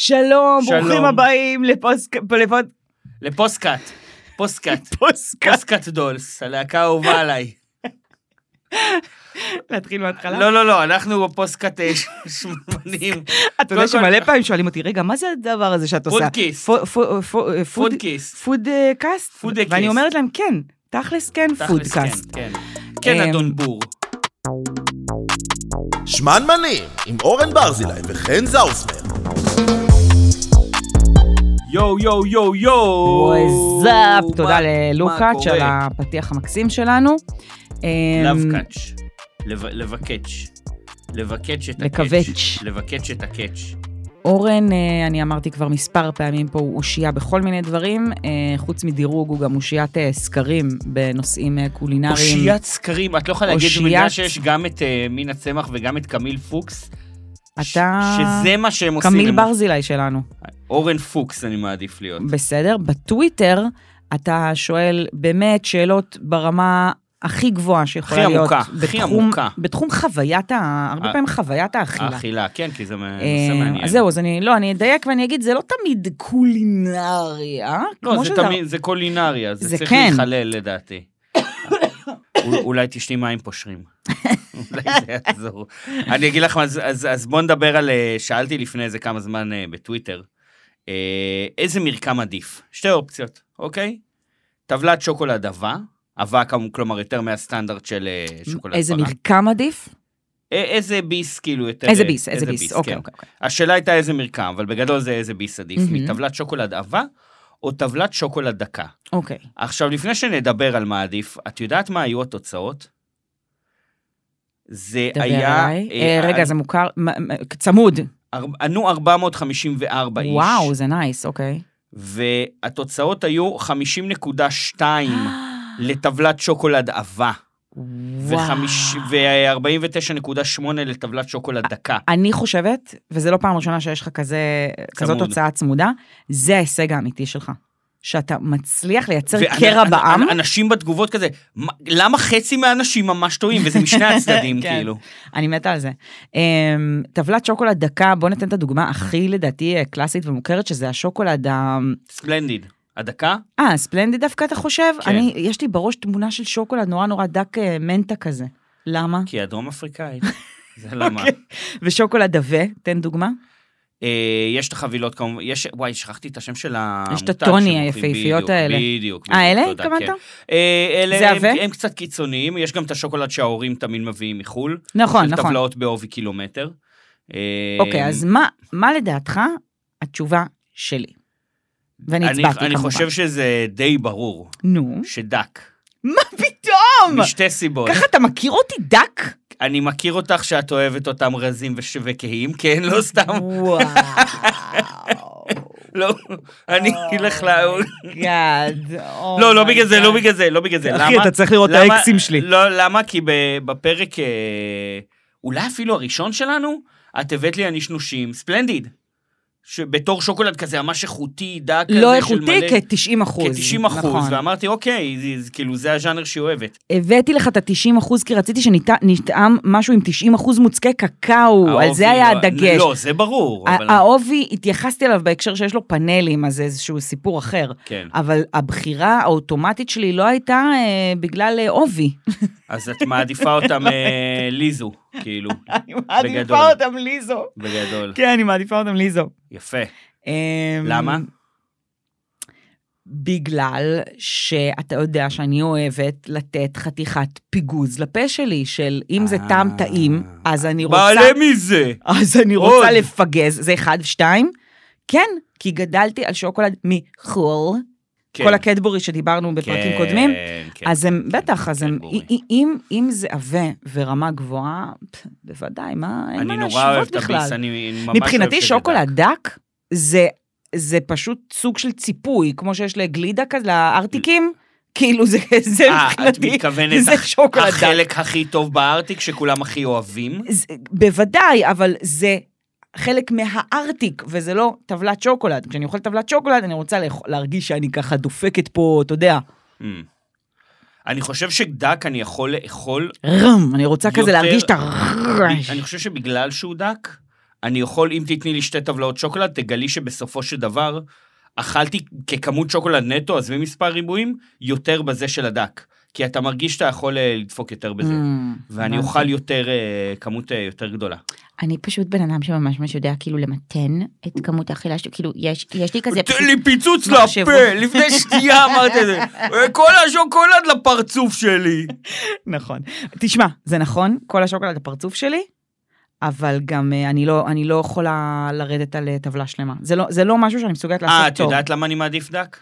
שלום, שלום. ברוכים הבאים לפוסק... לפוד... לפוסקאט. פוסקאט. פוסקאסט. פוסקאט דולס, הלהקה האהובה עליי. להתחיל מההתחלה? לא, לא, לא, אנחנו בפוסקאט אה, ש- שמונים. אתה יודע קודם כל- שמלא פעמים שואלים אותי, רגע, מה זה הדבר הזה שאת עושה? פודקיסט. פו- פו- פו- אה, פוד- פודקיסט. פודקאסט? פודקאסט. ואני אומרת להם, כן, תכלס כן תכלס, פודקאסט. כן, כן. כן, אמ, אדון בור. שמנמנים, עם אורן ברזילי וחן זאוסמן. יואו, יואו, יואו, יואו. וואזאפ, מה- תודה מה ללוקאץ' קורה? על הפתיח המקסים שלנו. אמ, לאו קאץ'. לב- לבקץ'. לבקץ' את הקאץ'. לקווץ'. לבקץ' את הקאץ'. אורן, אה, אני אמרתי כבר מספר פעמים פה, הוא אושייה בכל מיני דברים. אה, חוץ מדירוג, הוא גם אושיית אה, סקרים בנושאים אה, קולינריים. אושיית סקרים, את לא יכולה להגיד, אושיית- בגלל שיש גם את אה, מינה צמח וגם את קמיל פוקס. ש- אתה... שזה מה שהם עושים. קמיל הם- ברזילי שלנו. אורן פוקס אני מעדיף להיות. בסדר? בטוויטר אתה שואל באמת שאלות ברמה הכי גבוהה שיכולה הכי להיות. עמוקה, הכי בתחום- עמוקה. בתחום חוויית, ה- הרבה ה- פעמים חוויית האכילה. האכילה, כן, כי זה מ- נושא אה, מעניין. אז זהו, אז אני, לא, אני אדייק ואני אגיד, זה לא תמיד קולינריה. אה? לא, כמו זה שזה- תמיד, זה קולינריה, זה זה צריך כן. להיכלל לדעתי. אול- אולי תשתי מים פושרים. אולי זה יעזור. אני אגיד לך, מה, אז- אז אז בוא נדבר על, אה, שאלתי לפני איזה כמה זמן אה, בטוויטר, אה, איזה מרקם עדיף? שתי אופציות, אוקיי? טבלת שוקולד עבה, עבה כמו- כלומר יותר מהסטנדרט של אה, שוקולד איזה פרה. מרקם עדיף? אה, איזה ביס כאילו יותר... איזה אה, ביס, איזה ביס, אוקיי, כן. אוקיי. אוקיי. השאלה הייתה איזה מרקם, אבל בגדול זה איזה ביס עדיף, מהמם. מטבלת שוקולד עבה או טבלת שוקולד דקה. אוקיי. עכשיו, לפני שנדבר על מה עדיף, את יודעת מה היו התוצאות? זה דבר היה... אליי. אה, אה, רגע, זה מוכר, מ- מ- צמוד. ארבע- ענו 454 איש. וואו, זה נייס, אוקיי. והתוצאות היו 50.2 לטבלת שוקולד עבה, וחמיש- וואו. ו-49.8 לטבלת שוקולד דקה. אני חושבת, וזו לא פעם ראשונה שיש לך כזה, כזאת תוצאה צמודה, זה ההישג האמיתי שלך. שאתה מצליח לייצר ואנ- קרע אנ- בעם. אנ- אנשים בתגובות כזה, "מה- למה חצי מהאנשים ממש טועים? וזה משני הצדדים, כן. כאילו. אני מתה על זה. אמ, טבלת שוקולד דקה, בוא ניתן את הדוגמה הכי לדעתי אה, קלאסית ומוכרת, שזה השוקולד ה... ספלנדיד. הדקה? אה, ספלנדי דווקא אתה חושב? כן. אני, יש לי בראש תמונה של שוקולד נורא נורא דק אה, מנטה כזה. למה? כי היא הדרום אפריקאית. זה למה. אוקיי. ושוקולד עבה, תן דוגמה. אה, יש את החבילות כמובן, יש, וואי, שכחתי את השם של העמותה. יש את הטוני שמוכרים, היפהפיות בדיוק, האלה. בדיוק, אה, אלה בדיוק, תודה, התכוונת? כן. אה, אלה זה הם- עבה? הם קצת קיצוניים, יש גם את השוקולד שההורים תמיד מביאים מחו"ל. נכון, של נכון. טבלאות בעובי קילומטר. אה, אוקיי, אז מה- מה לדעתך התשובה שלי? ואני אני- הצבעתי כמובן. אני חושב שזה די ברור, נו. שדק. מה פתאום? משתי סיבות. ככה אתה מכיר אותי דק? אני מכיר אותך שאת אוהבת אותם רזים וש- וכהים, כן, לא סתם, וואו. לא, אני אלך ל... גאד. לא, לא בגלל זה, לא בגלל זה, לא בגלל זה. למה? צריך לראות למה- לא, למה? כי ב- בפרק, אה, אולי אפילו הראשון שלנו, את הבאת לי הנשנושים, ספלנדיד. בתור שוקולד כזה ממש איכותי, דק כזה לא של איכותי, מלא- כ-90 אחוז. כ-90 אחוז, נכון. ואמרתי, אוקיי, זה- זה- כאילו זה הז'אנר שהיא אוהבת. הבאתי לך את ה-90 אחוז כי רציתי שנטעם משהו עם 90 אחוז מוצקי קקאו, על האופי זה היה לא- הדגש. לא, זה ברור. אבל- ה- העובי, התייחסתי אליו בהקשר שיש לו פאנלים, אז זה איזשהו סיפור אחר. כן. אבל הבחירה האוטומטית שלי לא הייתה אה, בגלל אה, עובי. אז את מעדיפה אותם אה, ליזו, כאילו, אני בגדול. אותם ליזו. בגדול. כן, אני מעדיפה אותם ליזו. יפה. אמ, למה? בגלל שאתה יודע שאני אוהבת לתת חתיכת פיגוז לפה שלי, של אם זה אה. טעם טעים, אז אני רוצה... בעלה מזה. אז אני עוד. רוצה לפגז, זה אחד ושתיים. כן, כי גדלתי על שוקולד מחו"ל, כן, כל הקטבורי שדיברנו בפרקים כן, קודמים, כן, אז הם, כן, בטח, אז הם, קטבורי. אי- אם- אם זה עבה ורמה גבוהה, פ, בוודאי, מה, אין מה אני נורא אוהב להשוות את הביס, בכלל. אני ממש אוהב מבחינתי שזה שוקולד דק. דק זה, זה פשוט סוג של ציפוי, כמו שיש לגלידה כזה, לארטיקים, כאילו זה, זה אה, את מבחינתי, מתכוונת זה שוקולד דק. החלק הכי טוב בארטיק שכולם הכי אוהבים? זה- בוודאי, אבל זה חלק מהארטיק, וזה לא טבלת שוקולד. כשאני אוכל טבלת שוקולד, אני רוצה לאכ- להרגיש שאני ככה דופקת פה, אתה יודע, Hmm. אני חושב שדק אני יכול לאכול, רם, אני רוצה כזה יותר- להרגיש את ה... אני חושב שבגלל שהוא דק, אני יכול, אם תתני לי שתי טבלאות שוקולד, תגלי שבסופו של דבר אכלתי ככמות שוקולד נטו, עזבי מספר ריבועים, יותר בזה של הדק. כי אתה מרגיש שאתה יכול אה, לדפוק יותר בזה. Mm, ואני הבנתי. אוכל יותר, אה, כמות אה, יותר גדולה. אני פשוט בן אדם שממש ממש יודע כאילו למתן את כמות האכילה שלי, כאילו יש, יש לי כזה... תן לי פיצוץ מחשבות. לפה, לפני שנייה אמרתי את זה. "אה, כל השוקולד לפרצוף שלי. נכון. תשמע, זה נכון, כל השוקולד הפרצוף שלי, אבל גם אה, אני לא, אני לא יכולה לרדת על אה, טבלה שלמה. זה לא, זה לא משהו שאני מסוגלת לעשות אה, את טוב. יודעת למה אני מעדיף דק?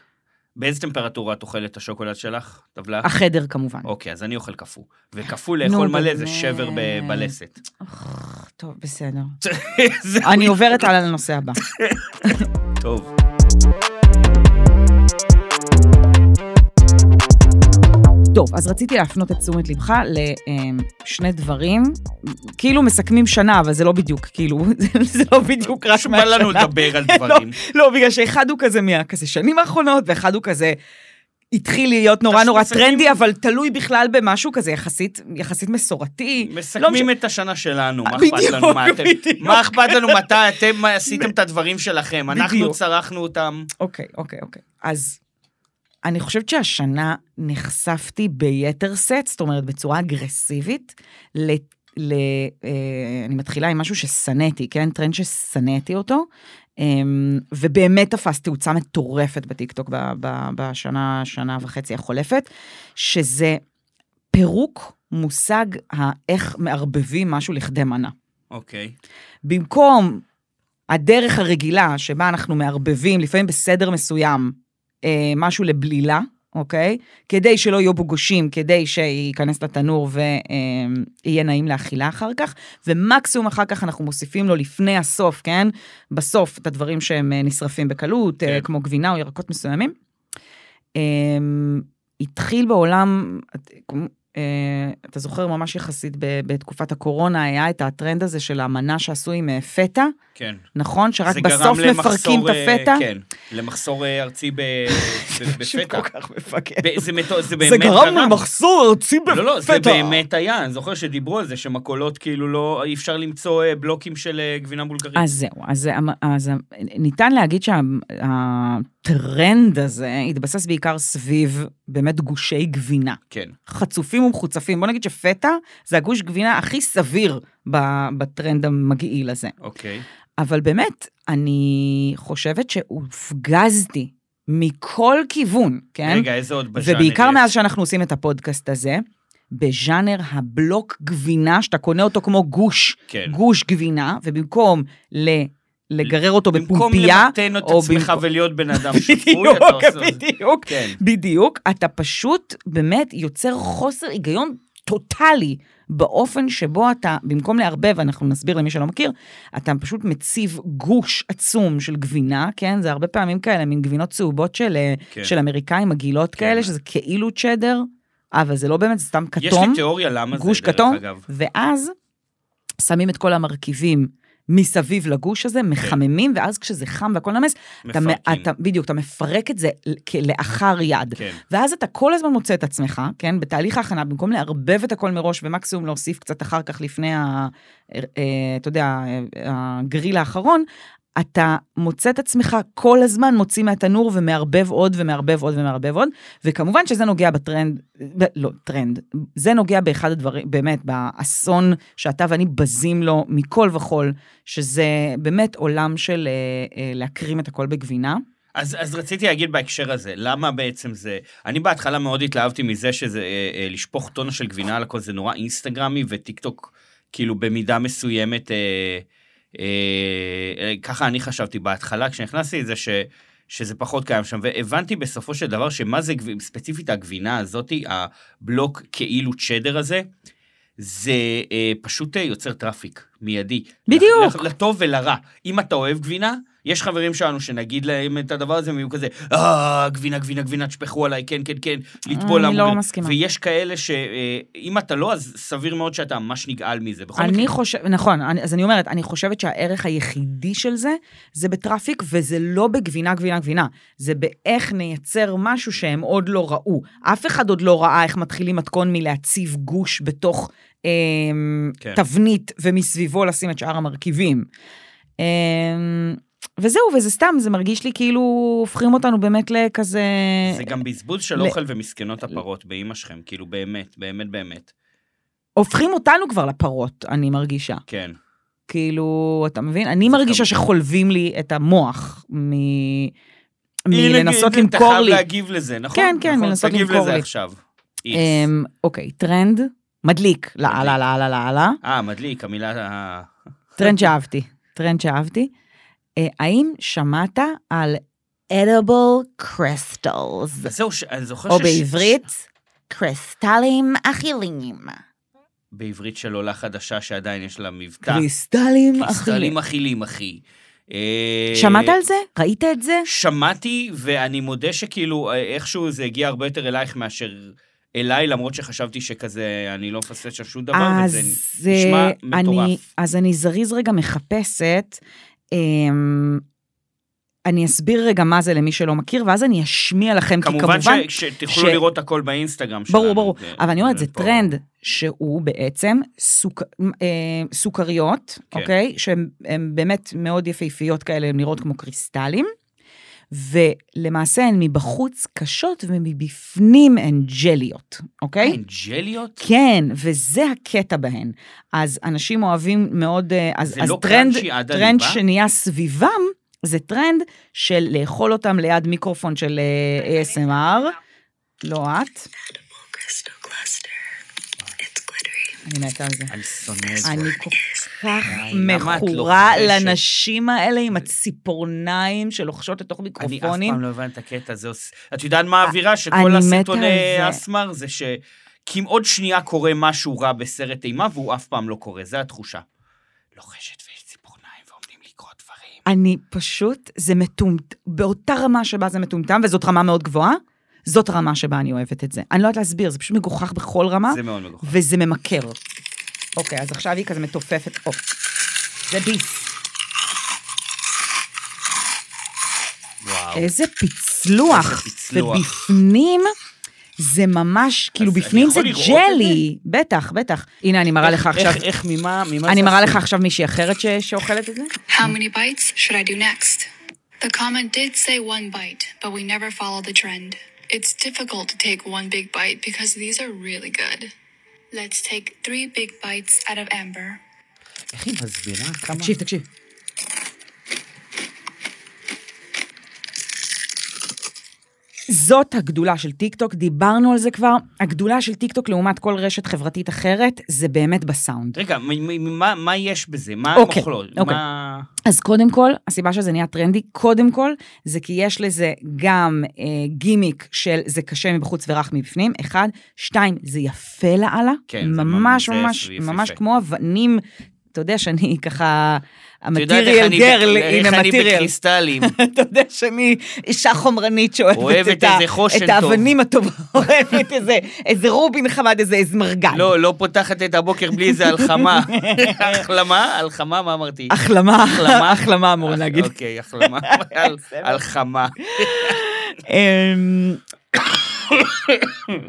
באיזה טמפרטורה את אוכלת את השוקולד שלך? טבלה? החדר כמובן. אוקיי, אז אני אוכל קפוא. וקפוא נו, לאכול מלא זה באמת. שבר ב- בלסת. אוח, טוב, בסדר. זה אני עוברת על הנושא הבא. טוב. טוב, אז רציתי להפנות את תשומת לבך לשני דברים, כאילו מסכמים שנה, אבל זה לא בדיוק, כאילו, זה- זה לא בדיוק רק פשוט בא לנו מהשנה. לדבר על דברים. לא, בגלל שאחד הוא כזה מהכזה שנים האחרונות, ואחד הוא כזה התחיל להיות נורא נורא מסכמים- טרנדי, אבל תלוי בכלל במשהו כזה יחסית, יחסית מסורתי. לא מסכמים משנה. את השנה שלנו, מה בדיוק, אכפת לנו? מה אתם- בדיוק. מה אכפת לנו מתי אתם מה עשיתם את הדברים שלכם? אנחנו בדיוק. צרחנו אותם. אוקיי, אוקיי, אוקיי. אז אני חושבת שהשנה נחשפתי ביתר סט, זאת אומרת, בצורה אגרסיבית, ל... ל אה, אני מתחילה עם משהו ששנאתי, כן? טרנד ששנאתי אותו, אה, ובאמת תפס תאוצה מטורפת בטיקטוק ב- ב- בשנה, שנה וחצי החולפת, שזה פירוק מושג ה- איך מערבבים משהו לכדי מנה. אוקיי. במקום הדרך הרגילה שבה אנחנו מערבבים, לפעמים בסדר מסוים, אה, משהו לבלילה, אוקיי? כדי שלא יהיו בו גושים, כדי שייכנס לתנור ויהיה נעים לאכילה אחר כך, ומקסימום אחר כך אנחנו מוסיפים לו לפני הסוף, כן? בסוף את הדברים שהם אה, נשרפים בקלות, אה, כן. כמו גבינה או ירקות מסוימים. אה, התחיל בעולם, את- כמו- אה, אתה זוכר ממש יחסית ב- בתקופת הקורונה היה את הטרנד הזה של המנה שעשו עם אה, פטה, כן. נכון? שרק זה גרם בסוף למחסור, מפרקים את אה, הפטה? כן, למחסור אה, ארצי ב- ב- פשוט בפתע. כל כך מפקד. ב- זה מטו- זה זה באמת גרם למחסור ארצי בפתע. לא, לא, זה באמת היה, אני זוכר שדיברו על זה שמקולות כאילו לא, אי אפשר למצוא אה, בלוקים של אה, גבינה בולגרית. אז זהו, אז, זה המ- אז המ- ניתן להגיד שהטרנד הזה התבסס בעיקר סביב באמת גושי גבינה. כן. חצופים ומחוצפים. בוא נגיד שפטה זה הגוש גבינה הכי סביר ב- בטרנד המגעיל הזה. אוקיי. אבל באמת, אני חושבת שהופגזתי מכל כיוון, כן? רגע, איזה עוד בז'אנר? ובעיקר יש? מאז שאנחנו עושים את הפודקאסט הזה, בז'אנר הבלוק גבינה, שאתה קונה אותו כמו גוש, כן. גוש גבינה, ובמקום ל... לגרר אותו במקום בפומפייה, למתן את או עצמך במקום- ולהיות בן אדם שפוי, בדיוק, אתה עושה... את זה. בדיוק, כן. בדיוק, אתה פשוט באמת יוצר חוסר היגיון טוטאלי באופן שבו אתה, במקום לערבב, אנחנו נסביר למי שלא מכיר, אתה פשוט מציב גוש עצום של גבינה, כן? זה הרבה פעמים כאלה, מין גבינות צהובות של, כן. כן. של אמריקאים עגילות כן. כאלה, שזה כאילו צ'דר, אבל זה לא באמת, זה סתם יש לי כתום, תיאוריה למה זה, גוש דרך כתום, אגב. ואז שמים את כל המרכיבים. מסביב לגוש הזה, מחממים, ואז כשזה חם והכל נמס, אתה, מ- כן. מפרקים. אתה, בדיוק, אתה מפרק את זה ל- כלאחר יד. כן. ואז אתה כל הזמן מוצא את עצמך, כן, בתהליך ההכנה, במקום לערבב את הכל מראש ומקסימום להוסיף קצת אחר כך לפני, ה, אה, אה, אתה יודע, אה, הגריל האחרון, אתה מוצא את עצמך כל הזמן מוציא מהתנור ומערבב עוד ומערבב עוד ומערבב עוד, וכמובן שזה נוגע בטרנד, ב, לא, טרנד, זה נוגע באחד הדברים, באמת, באסון שאתה ואני בזים לו מכל וכול, שזה באמת עולם של אה, אה, להקרים את הכל בגבינה. אז, אז רציתי להגיד בהקשר הזה, למה בעצם זה... אני בהתחלה מאוד התלהבתי מזה שזה אה, אה, לשפוך טונה של גבינה על הכל, זה נורא אינסטגרמי וטיק טוק, כאילו במידה מסוימת, אה, אה, אה, ככה אני חשבתי בהתחלה כשנכנסתי לזה, ש, שזה פחות קיים שם, והבנתי בסופו של דבר שמה זה, גב- ספציפית הגבינה הזאתי, הבלוק כאילו צ'דר הזה, זה אה, פשוט אה, יוצר טראפיק מיידי. בדיוק. לח- לטוב ולרע. אם אתה אוהב גבינה, יש חברים שלנו שנגיד להם את הדבר הזה, הם יהיו כזה, אה, גבינה, גבינה, גבינה, תשפכו עליי, כן, כן, כן, לטבול אני לא המוגר." מסכימה. ויש כאלה שאם אתה לא, אז סביר מאוד שאתה ממש נגעל מזה. בכל אני מקרה, חושבת, נכון, אני, אז אני אומרת, אני חושבת שהערך היחידי של זה, זה בטראפיק, וזה לא בגבינה, גבינה, גבינה. זה באיך נייצר משהו שהם עוד לא ראו. אף אחד עוד לא ראה איך מתחילים מתכון מלהציב גוש בתוך אמ, כן. תבנית, ומסביבו לשים את שאר המרכיבים. אמ, וזהו, וזה סתם, זה מרגיש לי כאילו הופכים אותנו באמת לכזה... זה גם בזבוז של ל- אוכל ומסכנות הפרות באימא שלכם, כאילו באמת, באמת, באמת. הופכים אותנו כבר לפרות, אני מרגישה. כן. כאילו, אתה מבין? אני זה מרגישה חמור. שחולבים לי את המוח מ... הנה, מלנסות הנה, אתה למכור חייב לי. להגיב לזה, נכון? כן, כן, נכון, מנסות תגיב למכור לזה לי. עכשיו. איקס. אמ, אוקיי, טרנד מדליק, לאללה, לאללה, לאללה. אה, מדליק, המילה... ה- טרנד שאהבתי, טרנד שאהבתי. אה, האם שמעת על edible crystals, אז זהו, ש- אני זוכר או שש- בעברית? קריסטלים אכילים. בעברית של עולה חדשה שעדיין יש לה מבטא. קריסטלים אכילים. קריסטלים אכילים, אחי. אה, שמעת על זה? ראית את זה? שמעתי, ואני מודה שכאילו אה, איכשהו זה הגיע הרבה יותר אלייך מאשר אליי, למרות שחשבתי שכזה, אני לא מפספס שם שום דבר, וזה... אה, נשמע אני- מטורף. אז אני זריז רגע מחפשת. אמ, אני אסביר רגע מה זה למי שלא מכיר, ואז אני אשמיע לכם, כי כמובן כמובן... ש- אה, שתוכלו ש- לראות הכל באינסטגרם שלנו. ברור, ברור. זה- אבל אני אומרת, זה פה- טרנד שהוא בעצם סוכ- אה, סוכריות, כן. אוקיי? שהן הן באמת מאוד יפהפיות כאלה, הן נראות כמו קריסטלים. ולמעשה הן מבחוץ קשות ומבפנים הן ג'ליות, אוקיי? אנג'ליות? כן, וזה הקטע בהן. אז אנשים אוהבים מאוד, אה, אז, זה אז לא טרנד, קראנצ'י עד טרנד הליבה? שנהיה סביבם, זה טרנד של לאכול אותם ליד מיקרופון של אה, ASMR. לא את. אני מתה על זה. אני שונא את זה. אני כל כך למה את לא מכורה חוששת? לנשים האלה עם הציפורניים שלוחשות לתוך אני אף מיקרופונים. אה, פעם לא הבנתי את הקטע הזה. את יודעת מה האווירה? אני שכל מתה הסרטוני על זה. אסמר זה ש... כי אם עוד שנייה קורה משהו רע בסרט אימה, והוא אף פעם לא קורה, זו התחושה. לוחשת ויש ציפורניים ועומדים לקרות דברים. אני פשוט, זה מטומט... באותה רמה שבה זה מטומטם, וזאת רמה מאוד גבוהה, זאת הרמה שבה אני אוהבת את זה. אני לא יודעת להסביר, זה פשוט מגוחך בכל רמה, זה מאוד לא נכון. מגוחך. וזה ממכר. אוקיי, אז עכשיו היא כזה מתופפת, או, זה ביס. אה, וואו. איזה פיצלוח. איזה פיצלוח. ובפנים, זה ממש, כאילו, אני בפנים זה יכול לראות את ג'לי. בטח, בטח. הנה, אני מראה לך עכשיו, איך, איך, ממה, ממה אני זה מראה עשוי? לך עכשיו מישהי אחרת ש- שאוכלת את זה. How many bites should I do next? The comment did say one bite, but we never follow the trend. It's difficult to take one big bite because these are really good. Let's take three big bites out of Amber. איך היא מסבירה? כמה... תקשיב, תקשיב. זאת הגדולה של טיקטוק, דיברנו על זה כבר. הגדולה של טיקטוק לעומת כל רשת חברתית אחרת, זה באמת בסאונד. רגע, מ- מ- מ- מה- מה יש בזה? מה אוקיי, המחלות? אוקיי. מה... אז קודם כל, הסיבה שזה נהיה טרנדי, קודם כל, זה כי יש לזה גם אה, גימיק של זה קשה מבחוץ ורך מבפנים, אחד. שתיים, זה יפה לאללה. כן, זה ממש, זה ממש, יפה, ממש יפה. כמו אבנים. אתה יודע שאני ככה, את יודעת המטריאל איך אני גרל, בק- הנה איך אני מטריאל. בקריסטלים. אתה יודע שאני אישה חומרנית שאוהבת אוהבת את, ה- איזה חושן את האבנים הטובות, אוהבת איזה, איזה רובין חמד, איזה אזמרגן. לא, לא פותחת את הבוקר בלי איזה הלחמה. החלמה? הלחמה? מה אמרתי? החלמה, החלמה? החלמה, החלמה אמור אח- להגיד. אוקיי, החלמה. על- הלחמה. אמ,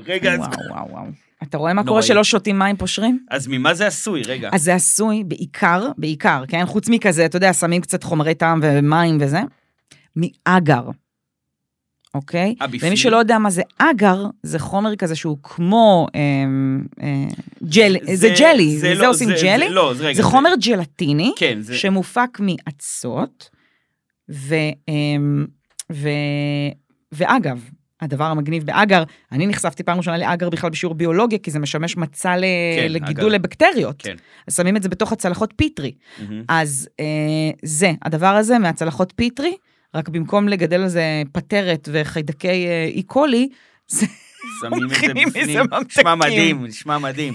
רגע, אז- וואו, וואו, וואו. אתה רואה מה כן. נוראי. אה. קורה שלא שותים מים פושרים? אז ממה זה עשוי? רגע. אז זה עשוי בעיקר, בעיקר, כן? חוץ מכזה, אתה יודע, שמים קצת חומרי טעם ומים וזה, מאגר, אוקיי? אה, בפנים? ומי שלא יודע מה זה אגר, זה חומר כזה שהוא כמו אמ, אה, ג'ל, זה ג'לי, לא- מזה עושים ג'לי? לא, זה רגע. זה חומר ג'לטיני, כן, זה... שמופק מאצות, ו, אמ, ו, ואגב, הדבר המגניב באגר, אני נחשפתי פעם ראשונה לאגר בכלל בשיעור ביולוגיה, כי זה משמש מצע ל, כן, לגידול אגר. לבקטריות. כן. אז שמים את זה בתוך הצלחות פיטרי. מהמם. אז אה, זה, הדבר הזה מהצלחות פיטרי, רק במקום לגדל על זה פטרת וחיידקי אה, אי קולי, זה שמים את זה מוכרים מזה בפנים. נשמע ממתקים. מדהים, נשמע מדהים.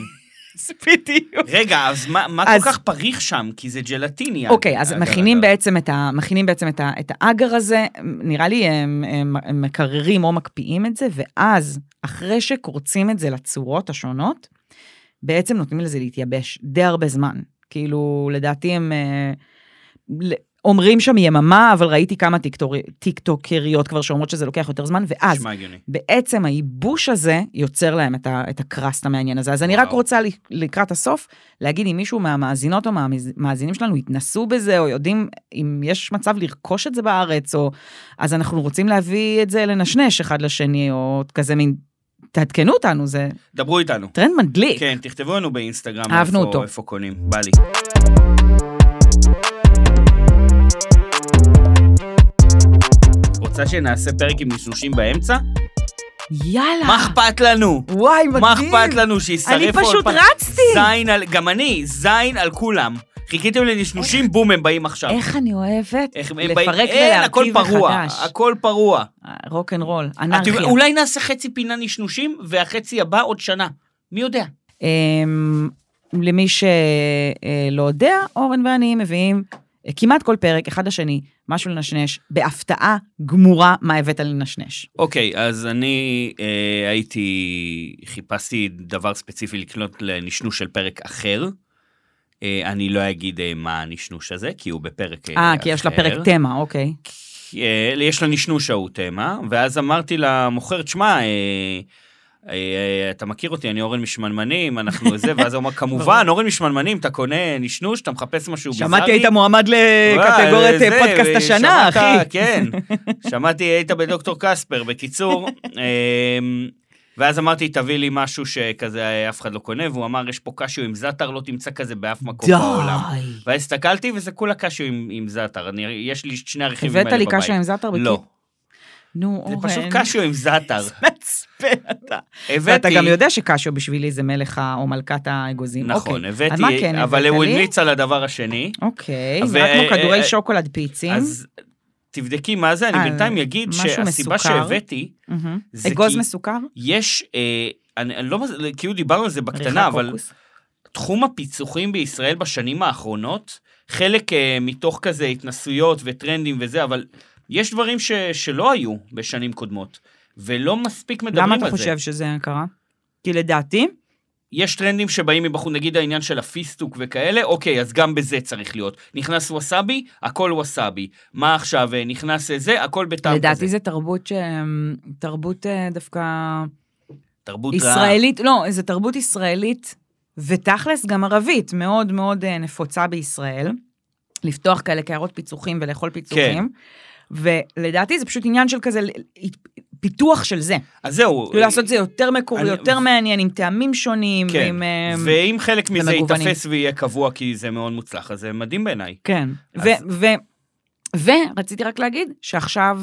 בדיוק. רגע, אז מה מה אז- כל כך פריך שם? כי זה ג'לטיני. אה, אוקיי, אז אגב, מכינים אגב. בעצם את ה- מכינים בעצם את ה- את האגר הזה, נראה לי הם הם- הם מקררים או מקפיאים את זה, ואז, אחרי שקורצים את זה לצורות השונות, בעצם נותנים לזה להתייבש די הרבה זמן. כאילו, לדעתי הם... אה, ל- אומרים שם יממה, אבל ראיתי כמה טיקטור- טיקטוקריות כבר שאומרות שזה לוקח יותר זמן, ואז נשמע הגיוני. בעצם הייבוש הזה יוצר להם את, ה, את הקראסט המעניין הזה. אז אני רק וואו. רוצה ל- לקראת הסוף להגיד אם מישהו מהמאזינות או מהמאזינים שלנו התנסו בזה, או יודעים אם יש מצב לרכוש את זה בארץ, או... אז אנחנו רוצים להביא את זה לנשנש אחד לשני, או כזה מין... תעדכנו אותנו, זה דברו איתנו. טרנד מדליק. כן, תכתבו לנו באינסטגרם אוקיי. אהבנו איפה- אותו. איפה קונים, בא לי. רוצה שנעשה פרק עם נשנושים באמצע? לא. יאללה. מה אכפת לנו? וואי, מדהים. מה אכפת לנו שישרף אני עוד פשוט פעם? רצתי. זין על... גם אני, זין על כולם. חיכיתם לנשנושים, בום, הם באים עכשיו. איך אני אוהבת איך הם באים- לפרק אין, הכל ולהרכיב פרוע, מחדש. הכל פרוע. רוקנרול, אנרכיה. אתם- אולי נעשה חצי פינה נשנושים, והחצי הבא עוד שנה. מי יודע? אמ, למי שלא יודע, אורן ואני מביאים אה, כמעט כל פרק, אחד לשני, משהו לנשנש, בהפתעה גמורה מה הבאת לנשנש. אוקיי, אז אני אה, הייתי, חיפשתי דבר ספציפי לקנות לנשנוש של פרק אחר. אה, אני לא אגיד אה, מה הנשנוש הזה, כי הוא בפרק אה, אה, כי יש לה פרק תמה, אוקיי. כי, אה, יש לנשנוש ההוא תמה, אה, ואז אמרתי למוכרת, שמע, אה, אה, אה, אתה מכיר אותי, אני אורן משמנמנים, אנחנו זה, ואז הוא אמר, כמובן, אורן משמנמנים, אתה קונה נשנוש, אתה מחפש משהו ביזארי. שמעתי היית מועמד וואי, לקטגוריית זה, אה, פודקאסט אה, השנה, שמעת, אחי. כן, שמעתי, היית בדוקטור קספר, בקיצור. אמ, ואז אמרתי, תביא לי משהו שכזה אה, אף אחד לא קונה, והוא אמר, יש פה קשיו עם זאטר, לא תמצא כזה באף מקום בעולם. די. ואז הסתכלתי, וזה כולה קשיו עם, עם זאטר, אני, יש לי שני הרכיבים האלה הבאת בבית. לי קשיו עם זאטר? בקי- לא, נו, זה אורן. פשוט קשיו עם זאטר. מעצבן אתה. הבאתי, ואתה גם יודע שקשיו בשבילי זה מלך ה- או מלכת האגוזים. נכון, אוקיי. אז מה הבאתי, כן אבל הבאת הוא לי? המליץ על הדבר השני. אוקיי, ו- זה רק כמו אה, כדורי אה, שוקולד פיצים. אז תבדקי מה זה, אני אה, בינתיים אגיד אוקיי. משהו שהסיבה מסוכר. שהבאתי, מהמם. זה אגוז כי- מסוכר? יש, אה, אני, אני לא, מז- כאילו דיברנו על זה בקטנה, ריחה אבל קוקוס. תחום הפיצוחים בישראל בשנים האחרונות, חלק אה, מתוך כזה התנסויות וטרנדים וזה, אבל יש דברים ש, שלא היו בשנים קודמות, ולא מספיק מדברים למה על זה. אתה חושב שזה קרה? כי לדעתי, יש טרנדים שבאים מבחוץ, נגיד העניין של הפיסטוק וכאלה, אוקיי, אז גם בזה צריך להיות. נכנס ווסאבי, הכל ווסאבי. מה עכשיו, אה, נכנס אה, זה, הכל בטעם כזה. לדעתי זה תרבות ש... תרבות אה, דווקא תרבות רעה. ישראלית, לא, זה תרבות ישראלית ותכלס גם ערבית, מאוד מאוד אה, נפוצה בישראל, לפתוח כאלה קערות פיצוחים כן. ולאכול פיצוחים. ולדעתי זה פשוט עניין של כזה אה, פיתוח של זה. אז זהו. אה, כאילו לעשות את זה יותר מקורי, אני- יותר מעניין, עם טעמים שונים, כן, עם... אה, ואם חלק מזה ומגוונים. ייתפס ויהיה קבוע, כי זה מאוד מוצלח, אז זה מדהים בעיניי. כן. אז- ו- ו- ורציתי רק להגיד שעכשיו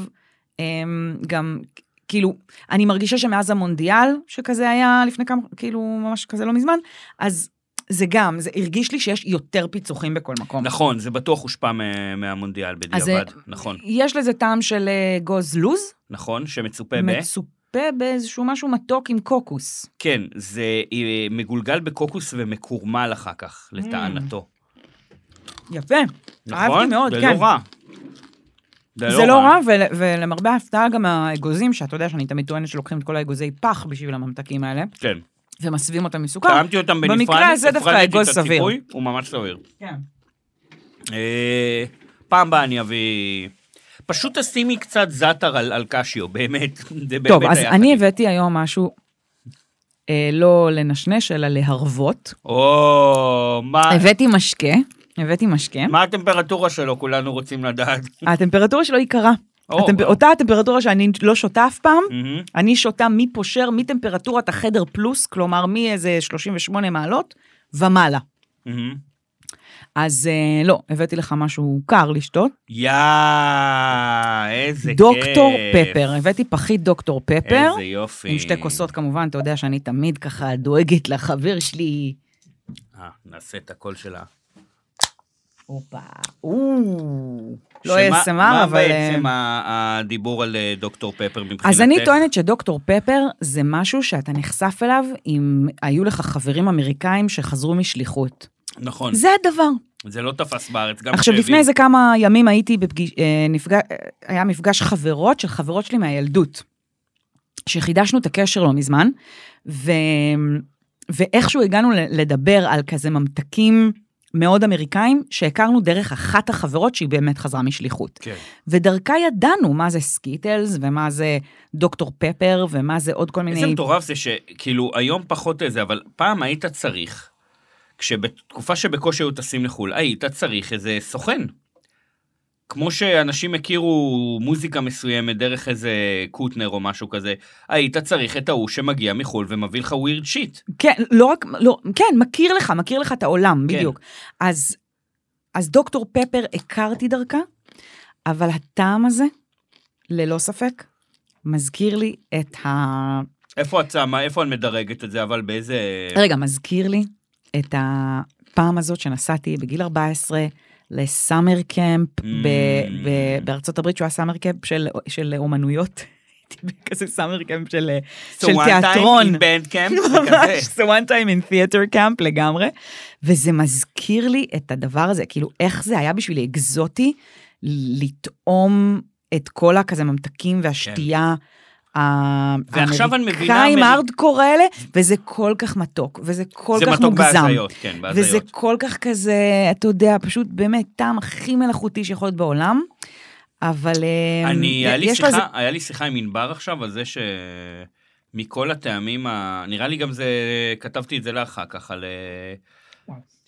אמ, גם, כאילו, אני מרגישה שמאז המונדיאל, שכזה היה לפני כמה, כאילו, ממש כזה לא מזמן, אז זה גם, זה הרגיש לי שיש יותר פיצוחים בכל מקום. נכון, זה בטוח הושפע מה- מהמונדיאל אז, אה, בדיעבד. נכון, יש לזה טעם של אה, גוז לוז, נכון, שמצופה ב... מצופה באיזשהו משהו מתוק עם קוקוס. כן, זה אה, מגולגל בקוקוס ומקורמל אחר כך, לטענתו. יפה, Mm. נכון? אהבתי מאוד, זה כן. לא רע. זה לא רע, ול- ולמרבה ההפתעה גם האגוזים, שאתה יודע שאני תמיד טוענת שלוקחים את כל האגוזי פח בשביל הממתקים האלה, כן. ומסבים אותם עם סוכר. טעמתי אותם בנפרד, במקרה הזה דווקא הפרדתי את אגוז סביר. הציפוי, הוא ממש סביר. כן. אה, פעם באה אני אביא... פשוט תשימי קצת זאטר על, על קשיו, באמת. זה באמת טוב, אז היה אני חגיגי. הבאתי היום משהו אה, לא לנשנש, אלא להרוות. או, מה, הבאתי משקה, הבאתי משקה. מה הטמפרטורה שלו? כולנו רוצים לדעת. הטמפרטורה שלו היא קרה. או, Mm. הטמפ- וואו. אותה הטמפרטורה שאני לא שותה אף פעם, מהמם. אני שותה מפושר, מטמפרטורת החדר פלוס, כלומר מאיזה 38 מעלות ומעלה. מהמם. אז אה, לא, הבאתי לך משהו קר לשתות. יא, איזה כיף. דוקטור פפר, הבאתי פחית דוקטור פפר. איזה יופי. עם שתי כוסות כמובן, אתה יודע שאני תמיד ככה דואגת לחבר שלי. אה, נעשה את הקול שלה. הופה. או, לא שמה- ASMR, אבל... מה אה, בעצם ה- הדיבור על אה, דוקטור פפר מבחינתך? אז אני טוענת שדוקטור פפר זה משהו שאתה נחשף אליו אם היו לך חברים אמריקאים שחזרו משליחות. נכון, זה הדבר. זה לא תפס בארץ. גם עכשיו, כשהביאו- לפני איזה כמה ימים הייתי בפגיש... אה, נפגש... היה מפגש חברות של חברות שלי מהילדות, שחידשנו את הקשר לא מזמן, ו... ואיכשהו הגענו ל- לדבר על כזה ממתקים מאוד אמריקאים, שהכרנו דרך אחת החברות שהיא באמת חזרה משליחות. כן. ודרכה ידענו מה זה סקיטלס, ומה זה דוקטור פפר, ומה זה עוד כל מיני... איזה מטורף זה שכאילו היום פחות איזה, אבל פעם היית צריך, כשבתקופה שבקושי היו טסים לחו"ל, היית צריך איזה סוכן. כמו שאנשים הכירו מוזיקה מסוימת דרך איזה קוטנר או משהו כזה, היית צריך את ההוא שמגיע מחו"ל ומביא לך ווירד שיט. כן, לא רק, לא, כן, מכיר לך, מכיר לך את העולם, כן. בדיוק. אז, אז דוקטור פפר הכרתי דרכה, אבל הטעם הזה, ללא ספק, מזכיר לי את ה... איפה את שמה, איפה את מדרגת את זה, אבל באיזה... רגע, מזכיר לי את הפעם הזאת שנסעתי בגיל 14 לסאמר קמפ Mm. ב- ב- בארצות הברית, שהוא היה סאמר קמפ של, של אומנויות. הייתי בכזה סאמר קמפ של, של תיאטרון. בנד קאמפ, כאילו, ממש, זה one time in theater camp לגמרי, וזה מזכיר לי את הדבר הזה, כאילו איך זה היה בשבילי אקזוטי לטעום את כל הכזה ממתקים והשתייה. כן. ועכשיו אני מבינה האמריקאים אמריק- הארדקור האלה, וזה כל כך מתוק, וזה כל זה כך מתוק מוגזם. בהזיות, כן, וזה בהזיות. כל כך כזה, אתה יודע, פשוט באמת טעם הכי מלאכותי שיכול להיות בעולם, אבל אה, אני, היה לי, יש לו שיחה, איזה- היה לי שיחה עם ענבר עכשיו על זה שמכל הטעמים, ה... נראה לי גם זה, כתבתי את זה לאחר כך, על... אה,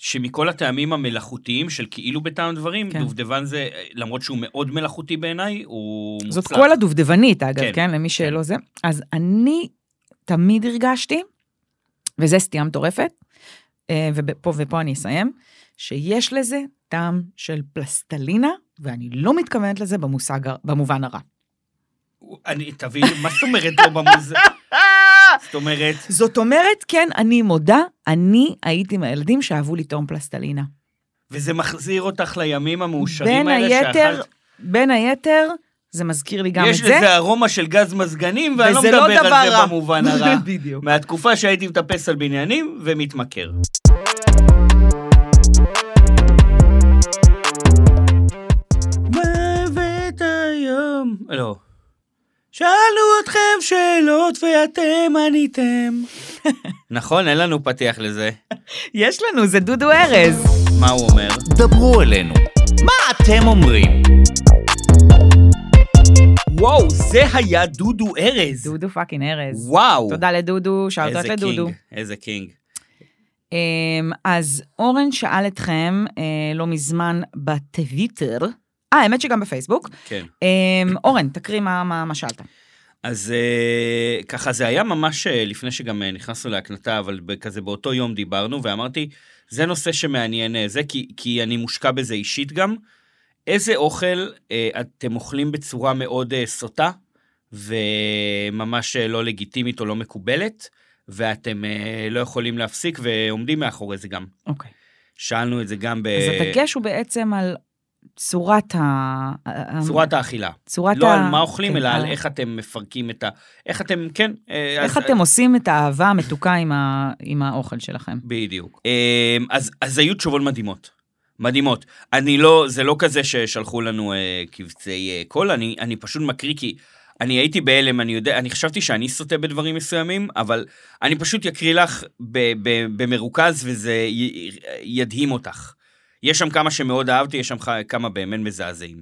שמכל הטעמים המלאכותיים של כאילו בטעם דברים, כן. כן. דובדבן זה, למרות שהוא מאוד מלאכותי בעיניי, הוא זאת מוצלח. כל הדובדבנית, אגב, כן, כן, כן למי שלא זה. אז אני תמיד הרגשתי, וזה סטייה מטורפת, אה, ופה, ופה אני אסיים, שיש לזה טעם של פלסטלינה, ואני לא מתכוונת לזה במושג, הר- במובן הרע. אני, תביא, מה זאת אומרת לא במוז... זאת אומרת, זאת אומרת, כן, אני מודה, אני הייתי מהילדים שאהבו לטעום פלסטלינה. וזה מחזיר אותך לימים המאושרים בין האלה היתר, שאכלת. בין היתר, זה מזכיר לי גם את יש זה. לזה ארומה של גז מזגנים, ואני לא וזה מדבר לא על דבר זה רע. במובן הרע. בדיוק. מהתקופה שהייתי מטפס על בניינים ומתמכר. מוות היום. לא. שאלנו אתכם שאלות ואתם עניתם. נכון, אין לנו פתיח לזה. יש לנו, זה דודו ארז. מה הוא אומר? דברו אלינו. מה אתם אומרים? וואו, זה היה דודו ארז. דודו פאקינג ארז. וואו. תודה לדודו, שאלות איזה לדודו. קינג, איזה קינג. אמ, אז אורן שאל אתכם אה, לא מזמן בטוויטר, אה, האמת שגם בפייסבוק. כן. אמ, אורן, תקריא מה- מה מה שאלת. אז אה, ככה זה היה ממש אה, לפני שגם אה, נכנסנו להקלטה, אבל ב- כזה באותו יום דיברנו ואמרתי, זה נושא שמעניין אה, זה, כי, כי אני מושקע בזה אישית גם. איזה אוכל אה, אתם אוכלים בצורה מאוד אה, סוטה וממש אה, לא לגיטימית או לא מקובלת, ואתם אה, לא יכולים להפסיק ועומדים מאחורי זה גם. אוקיי. שאלנו את זה גם אז כן- בצורת הדגש הוא בעצם על צורת ה... האכילה. צורת לא ה- על מה אוכלים, כן, אלא על ה- איך אתם מפרקים את ה... איך אתם, כן. אה, איך אז- אתם עושים את האהבה המתוקה עם ה- עם האוכל שלכם. בדיוק. אמ, אז, אז היו תשובות מדהימות. מדהימות. אני לא, זה לא כזה ששלחו לנו אה, קבצי אה, קול, אני, אני פשוט מקריא כי אני הייתי בהלם, אני יודע, אני חשבתי שאני סוטה בדברים מסוימים, אבל אני פשוט אקריא לך ב, ב, במרוכז וזה י, ידהים אותך. יש שם כמה שמאוד אהבתי, יש שם ח- כמה באמת מזעזעים.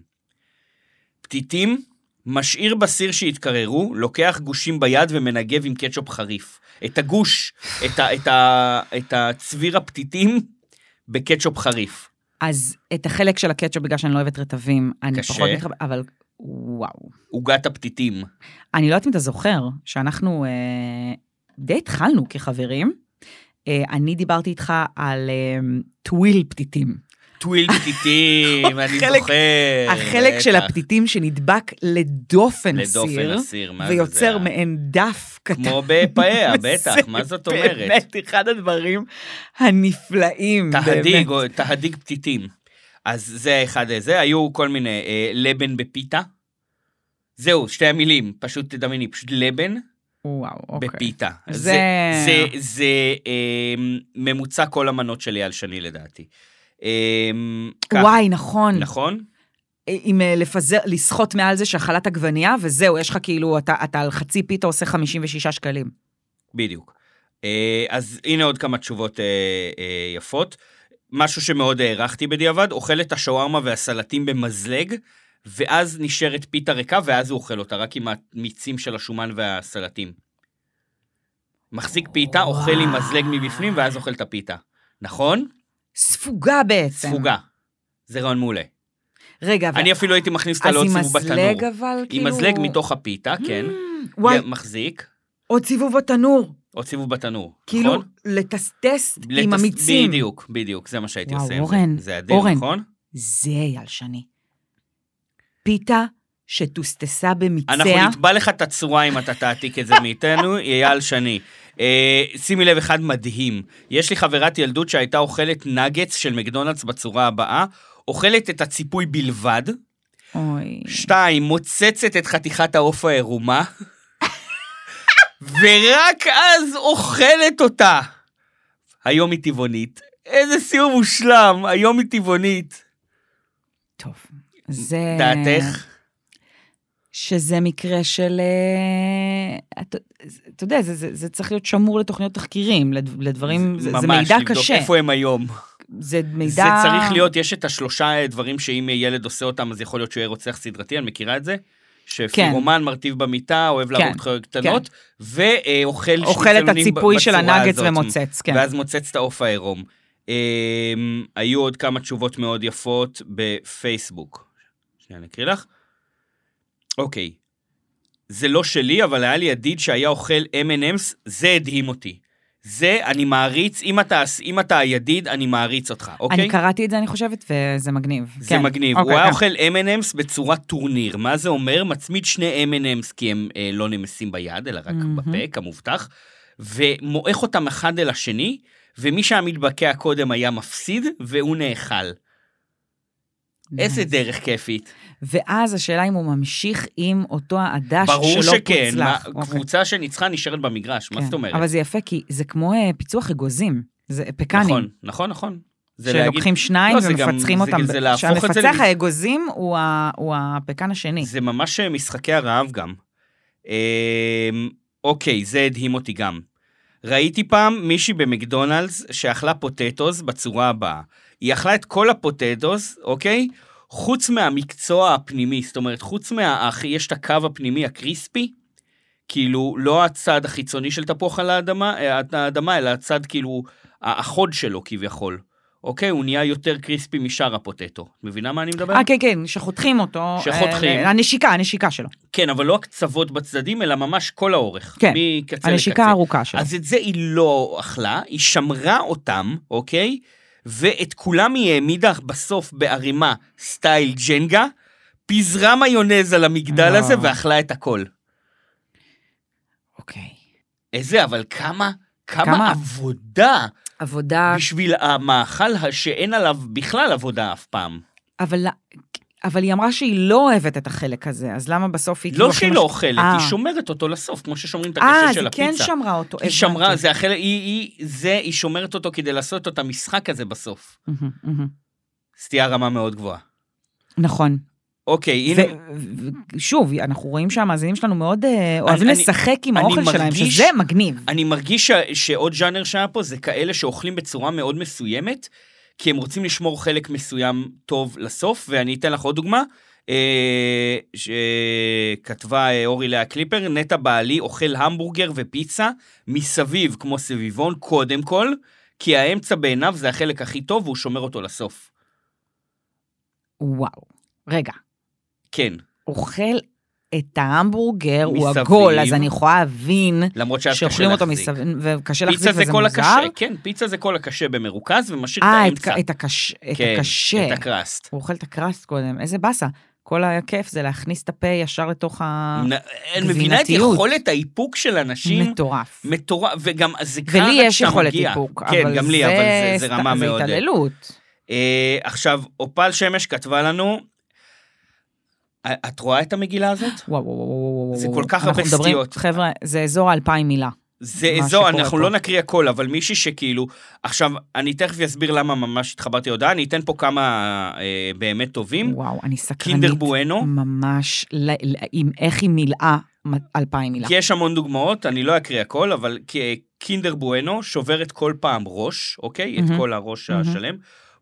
פתיתים, משאיר בסיר שהתקררו, לוקח גושים ביד ומנגב עם קטשופ חריף. את הגוש, את, ה, את, ה, את הצביר הפתיתים בקטשופ חריף. אז את החלק של הקטשופ, בגלל שאני לא אוהבת רטבים, אני קשה. פחות מתחברת, אבל וואו. עוגת הפתיתים. אני לא יודעת אם אתה זוכר, שאנחנו אה, די התחלנו כחברים. אה, אני דיברתי איתך על אה, טוויל פתיתים. טוויל פתיתים, אני החלק- זוכר. החלק של אה, בטח. הפתיתים שנדבק לדופן לדופן סיר, הסיר, מה זה? זה ויוצר ה- מעין דף קטן. כמו בפאיה, בטח, וזה מה זאת אומרת? באמת אחד הדברים הנפלאים. תהדיג, באמת. או- תהדיג פתיתים. אז זה אחד זה, היו כל מיני, אה, לבן בפיתה. זהו, שתי המילים, פשוט תדמייני, פשוט לבן וואו, אוקיי. בפיתה. זה- זה, זה, זה אה, ממוצע כל המנות של אייל שני לדעתי. אה, ככה. וואי, נכון. נכון? עם אה, לפזר, לסחוט מעל זה שהחלת עגבנייה, וזהו, יש לך כאילו, אתה, אתה על חצי פיתה עושה 56 שקלים. בדיוק. אה, אז הנה עוד כמה תשובות אה, אה, יפות. משהו שמאוד הערכתי בדיעבד, אוכל את השווארמה והסלטים במזלג, ואז נשארת פיתה ריקה, ואז הוא אוכל אותה, רק עם המיצים של השומן והסלטים. מחזיק פיתה, אוכל עם מזלג מבפנים, ואז אוכל את הפיתה. נכון? ספוגה בעצם. ספוגה. זה רעיון מעולה. רגע, אבל... אני אפילו הייתי מכניס אותה לעוד סיבוב אז עם בתנור. מזלג אבל, עם כאילו... Mm, מזלג מתוך הפיתה, כן. וואי, מחזיק, עוד סיבוב בתנור. עוד סיבוב בתנור, כאילו, נכון? לטסטס עם לטס- המיצים. בדיוק, בדיוק, זה מה שהייתי וואו, עושה עם אורן, זה. זה אדיר, אורן. נכון? זה ילשני. פיתה שטוסטסה אנחנו במיציה. נתבע לך את הצורה אם אתה תעתיק את זה מאיתנו, אייל שני. אה, שימי לב, אחד מדהים. יש לי חברת ילדות שהייתה אוכלת נגץ של מקדונלדס בצורה הבאה, אוכלת את הציפוי בלבד, אוי. שתיים, מוצצת את חתיכת העוף העירומה, ורק אז אוכלת אותה. היום היא טבעונית. איזה סיום מושלם, היום היא טבעונית. טוב. זה... דעתך? שזה מקרה של... אה, אתה- אתה יודע, זה- זה זה צריך להיות שמור לתוכניות תחקירים, לד- לדברים, זה זה מידע ממש, לבדוק קשה. איפה הם היום. זה מידע... זה צריך להיות, יש את השלושה דברים שאם ילד עושה אותם, אז יכול להיות שהוא יהיה רוצח סדרתי, אני מכירה את זה. שפירומן מרטיב במיטה, אוהב כן, לעבוד חיות קטנות, ואוכל אוכל את שניצלונים הציפוי של בצורה הנגץ הזאת. ומוצץ, כן. ואז מוצץ את העוף העירום. אמ, היו עוד כמה תשובות מאוד יפות בפייסבוק. שנייה, אני אקריא לך. אוקיי. זה לא שלי, אבל היה לי ידיד שהיה אוכל M&M's, זה הדהים אותי. זה, אני מעריץ, אם אתה, אם אתה הידיד, אני מעריץ אותך, אוקיי? אני קראתי את זה, אני חושבת, וזה מגניב. זה כן. מגניב. אוקיי, הוא היה כן. אוכל M&M's בצורת טורניר. מה זה אומר? מצמיד שני M&M's כי הם אה, לא נמסים ביד, אלא רק מהמם. בפה, כמובטח, ומועך אותם אחד אל השני, ומי שהיה מתבקע קודם היה מפסיד, והוא נאכל. איזה דרך כיפית. אוקיי. ואז השאלה אם הוא ממשיך עם אותו העדש שלא ברור פוצלח. שכן, מה- אוקיי. קבוצה שניצחה נשארת במגרש, מה כן. זאת אומרת? אבל זה יפה, כי זה כמו אה, פיצוח אגוזים, זה פקנים. נכון, נכון, נכון. זה להגיד, שלוקחים שניים לא, זה גם- ומפצחים זה- אותם. זה להפוך את זה שהמפצח למס- האגוזים הוא ה- הוא הפקן השני. זה ממש אה, משחקי הרעב גם. אמ, אוקיי, זה הדהים אותי גם. ראיתי פעם מישהי במקדונלדס שאכלה פוטטוס בצורה הבאה. היא אכלה את כל הפוטטוס, אוקיי? חוץ מהמקצוע הפנימי, זאת אומרת, חוץ מה... הכי- יש את הקו הפנימי הקריספי, כאילו, לא הצד החיצוני של תפוח על האדמה, אה, האדמה אלא הצד, כאילו, האחוד שלו כביכול. אוקיי? הוא נהיה יותר קריספי משאר הפוטטו. את מבינה מה אני מדבר? אה, כן, כן, שחותכים אותו. שחותכים. אה, הנשיקה, הנשיקה שלו. כן, אבל לא הקצוות בצדדים, אלא ממש כל האורך. כן, מקצה הנשיקה לקצה. הארוכה שלו. אז את זה היא לא אכלה, היא שמרה אותם, אוקיי? ואת כולם היא העמידה בסוף בערימה סטייל ג'נגה, פיזרה מיונז על המגדל לא. הזה ואכלה את הכל. אוקיי. איזה, אבל כמה, כמה, כמה? עבודה עבודה, בשביל המאכל ה- שאין עליו בכלל עבודה אף פעם. אבל... אבל היא אמרה שהיא לא אוהבת את החלק הזה, אז למה בסוף היא לא הכי שהיא מש- לא אוכלת, אה. היא שומרת אותו לסוף, כמו ששומרים את אה, הקשר אז של היא הפיצה. כן שמרה אותו. היא הבנתי. שמרה, זה החלק, היא, היא, זה, היא שומרת אותו כדי לעשות את המשחק הזה בסוף. מהמם, מהמם. סטייה רמה מאוד גבוהה. נכון. אוקיי, הנה, ו- ו- ו- שוב, אנחנו רואים שהמאזינים שלנו מאוד אה, אוהבים אני- לשחק עם אני האוכל שלהם, מרגיש- שזה מגניב. אני מרגיש ש, שעוד ז'אנר שהיה פה זה כאלה שאוכלים בצורה מאוד מסוימת, כי הם רוצים לשמור חלק מסוים טוב לסוף, ואני אתן לך עוד דוגמה. אה, שכתבה אה, אורי לאה קליפר, נטע בעלי אוכל המבורגר ופיצה מסביב כמו סביבון קודם כל, כי האמצע בעיניו זה החלק הכי טוב והוא שומר אותו לסוף. וואו. רגע, כן, אוכל את ההמבורגר, הוא מסביב. עגול, אז אני יכולה להבין למרות שאז קשה להחזיק. שאוכלים אותו מסביב, וקשה להחזיק פיצה וזה זה כל מוזר. הקשה, כן, פיצה זה כל הקשה במרוכז ומשאיר את אה, את האמצע. ק- את הקש- את כן, הקשה. את הקראסט. הוא אוכל את הקרסט קודם, איזה באסה. כל הכיף זה להכניס את הפה ישר לתוך ה... נ- את מבינה את גבינתיות. יכולת האיפוק של אנשים? מטורף. מטורף, וגם זה קרה ולי רק יש כשאתה יכולת מגיע. איפוק, אבל זה... כן, גם לי, אבל זה- זה רמה סת- מאוד... זה התעללות. אה, עכשיו, אופל שמש כתבה לנו, "א- את רואה את המגילה הזאת? וואו, וואו, וואו, וואו, וואו. זה כל כך אנחנו הרבה מדברים- סטיות. חבר'ה, זה אזור האלפיים מילה. זה מה זו, שקורה אנחנו פה. לא נקריא הכל, אבל מישהי שכאילו... עכשיו, אני תכף אסביר למה ממש התחברתי להודעה, אני אתן פה כמה אה, באמת טובים. וואו, אני סקרנית. קינדר בואנו, ממש, ל- ל- עם איך היא מילאה אלפיים מילה. יש המון דוגמאות, אני לא אקריא הכל, אבל כ- קינדר בואנו שוברת כל פעם ראש, אוקיי? את מהמם. כל הראש מהמם. השלם,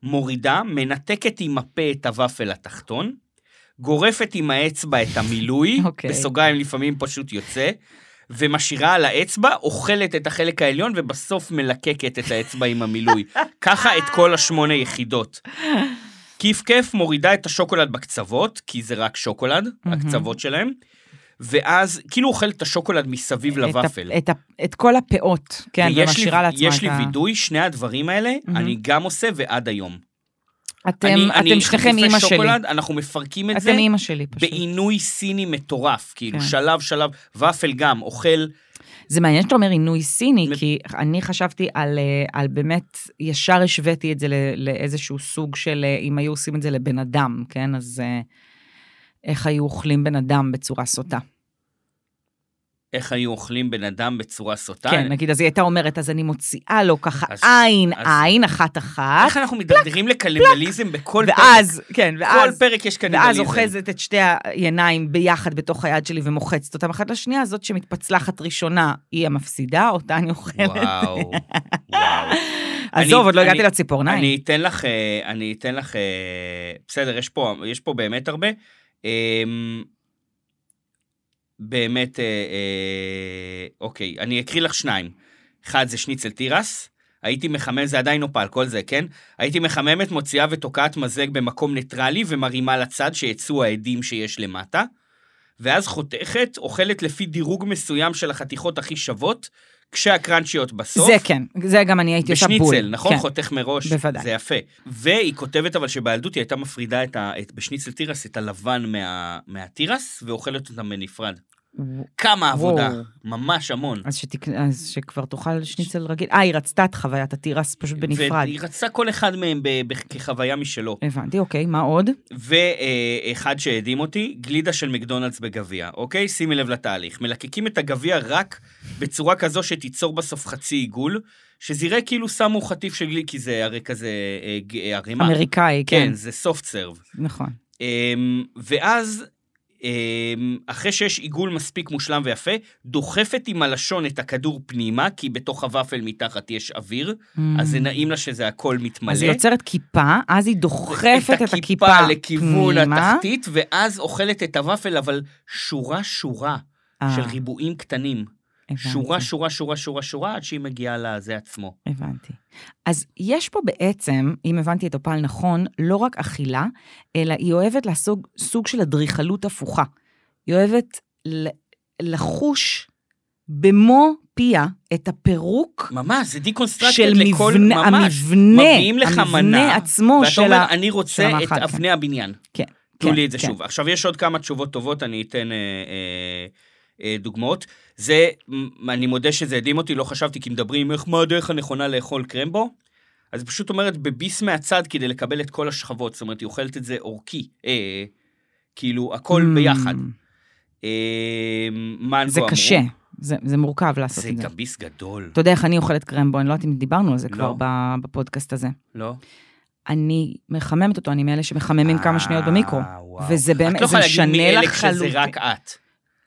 מורידה, מנתקת עם הפה את הוואפל התחתון, גורפת עם האצבע את המילוי, אוקיי. בסוגריים לפעמים פשוט יוצא, ומשאירה על האצבע, אוכלת את החלק העליון, ובסוף מלקקת את האצבע עם המילוי. ככה את כל השמונה יחידות. כיף כיף מורידה את השוקולד בקצוות, כי זה רק שוקולד, מהמם. הקצוות שלהם, ואז כאילו אוכלת את השוקולד מסביב את ה- לוואפל. את ה- את כל הפאות, כן, ויש לי- ומשאירה לעצמה יש את לי ה... וידוי, שני הדברים האלה, מהמם. אני גם עושה ועד היום. אתם אני- אני אתם שניכם חטיפי אימא שלי. שוקולד, אנחנו מפרקים את זה אתם אימא שלי פשוט. בעינוי סיני מטורף, כאילו כן. שלב שלב, ופל גם, אוכל, זה מעניין שאתה אומר עינוי סיני, מ- כי אני חשבתי על, אה, על באמת, ישר השוויתי את זה ל- לאיזשהו סוג של, אה, אם היו עושים את זה לבן אדם, כן? אז אה, איך היו אוכלים בן אדם בצורה סוטה. איך היו אוכלים בן אדם בצורה סוטה. כן, נגיד, אז היא הייתה אומרת, אז אני מוציאה לו ככה אז- עין, אז- עין, אחת-אחת, איך אנחנו מידרדרים לקניבליזם בכל פרק? ואז, כן, כל ואז... פרק יש קניבליזם. ואז אוחזת את שתי העיניים ביחד בתוך היד שלי ומוחצת אותם אחת לשנייה, זאת שמתפצלחת ראשונה היא המפסידה, אותה אני אוכלת. וואו, וואו. אני- עזוב, עוד לא אני- הגעתי לציפורניים. אני אתן לך, אה, אני אתן לך, אה, בסדר, יש פה, יש פה באמת הרבה. אמ, באמת, אה, אה, אוקיי, אני אקריא לך שניים. אחד זה שניצל תירס, הייתי מחמם, זה עדיין נופל, כל זה, כן? הייתי מחממת, מוציאה ותוקעת מזלג במקום ניטרלי ומרימה לצד שיצאו העדים שיש למטה. ואז חותכת, אוכלת לפי דירוג מסוים של החתיכות הכי שוות, כשהקראנצ'יות בסוף. זה כן, זה גם אני הייתי עושה בול. בשניצל, נכון? כן. חותך מראש. בוודאי. זה יפה. והיא כותבת אבל שבילדות היא הייתה מפרידה את ה, את, בשניצל תירס את הלבן מה, מהתירס, ואוכלת אותם בנפרד. כמה עבודה, וואו. ממש המון. אז, שתק... אז שכבר תאכל שניצל רגיל. אה, היא רצתה את חוויית התירס פשוט בנפרד. והיא רצתה כל אחד מהם ב, ב, כחוויה משלו. הבנתי, אוקיי, מה עוד? ואחד שהדהים אותי, גלידה של מקדונלדס בגביע, אוקיי? שימי לב לתהליך. מלקקים את הגביע רק בצורה כזו שתיצור בסוף חצי עיגול, שזה יראה כאילו שמו חטיף של גלידה, כי זה הרי כזה אה, ג- אה, ערימה. אמריקאי, כן. כן, זה soft serve. נכון. אמ, ואז, אמ, אחרי שיש עיגול מספיק מושלם ויפה, דוחפת עם הלשון את הכדור פנימה, כי בתוך הוואפל מתחת יש אוויר, אז זה נעים לה שזה הכל מתמלא. Mm. אז היא יוצרת כיפה, אז היא דוחפת את הכיפה פנימה. לכיוון התחתית, ואז אוכלת את הוואפל, אבל שורה-שורה אה, של ריבועים קטנים. הבנתי, שורה-שורה-שורה-שורה-שורה, עד שהיא מגיעה לזה עצמו. הבנתי. אז יש פה בעצם, אם הבנתי את הפעל נכון, לא רק אכילה, אלא היא אוהבת לעסוק סוג של אדריכלות הפוכה. היא אוהבת ל- לחוש במו פיה את הפירוק ממש, זה דיקונסטרקטד של לכל... מבנה, ממש. המבנה, מביאים לך המבנה מנה, עצמו ואתה של אומר, ה... אני רוצה את המאכל", כן. אבני הבניין. תנו כן, לי את זה כן. שוב. עכשיו, יש עוד כמה תשובות טובות, אני אתן אה, אה, אה, דוגמאות. זה, מ- אני מודה שזה הדהים אותי, לא חשבתי, כי מדברים איך, מה הדרך הנכונה לאכול קרמבו? אז היא פשוט אומרת, בביס מהצד כדי לקבל את כל השכבות, זאת אומרת, היא אוכלת את זה אורכי, אה, כאילו, הכל Mm, ביחד. אה, מנגו זה אמרו. קשה, זה זה מורכב לעשות זה את זה. גם ביס גדול. אתה יודע איך אני אוכלת קרמבו, אני לא יודעת אם דיברנו על זה לא. כבר ב- בפודקאסט הזה. לא? אני מחממת אותו, אני מאלה שמחממים כמה שניות במיקרו. אה, וואו. וזה באמת, את לא זה יכולה להגיד מי משנה אלה כשזה לחלוטין. רק את.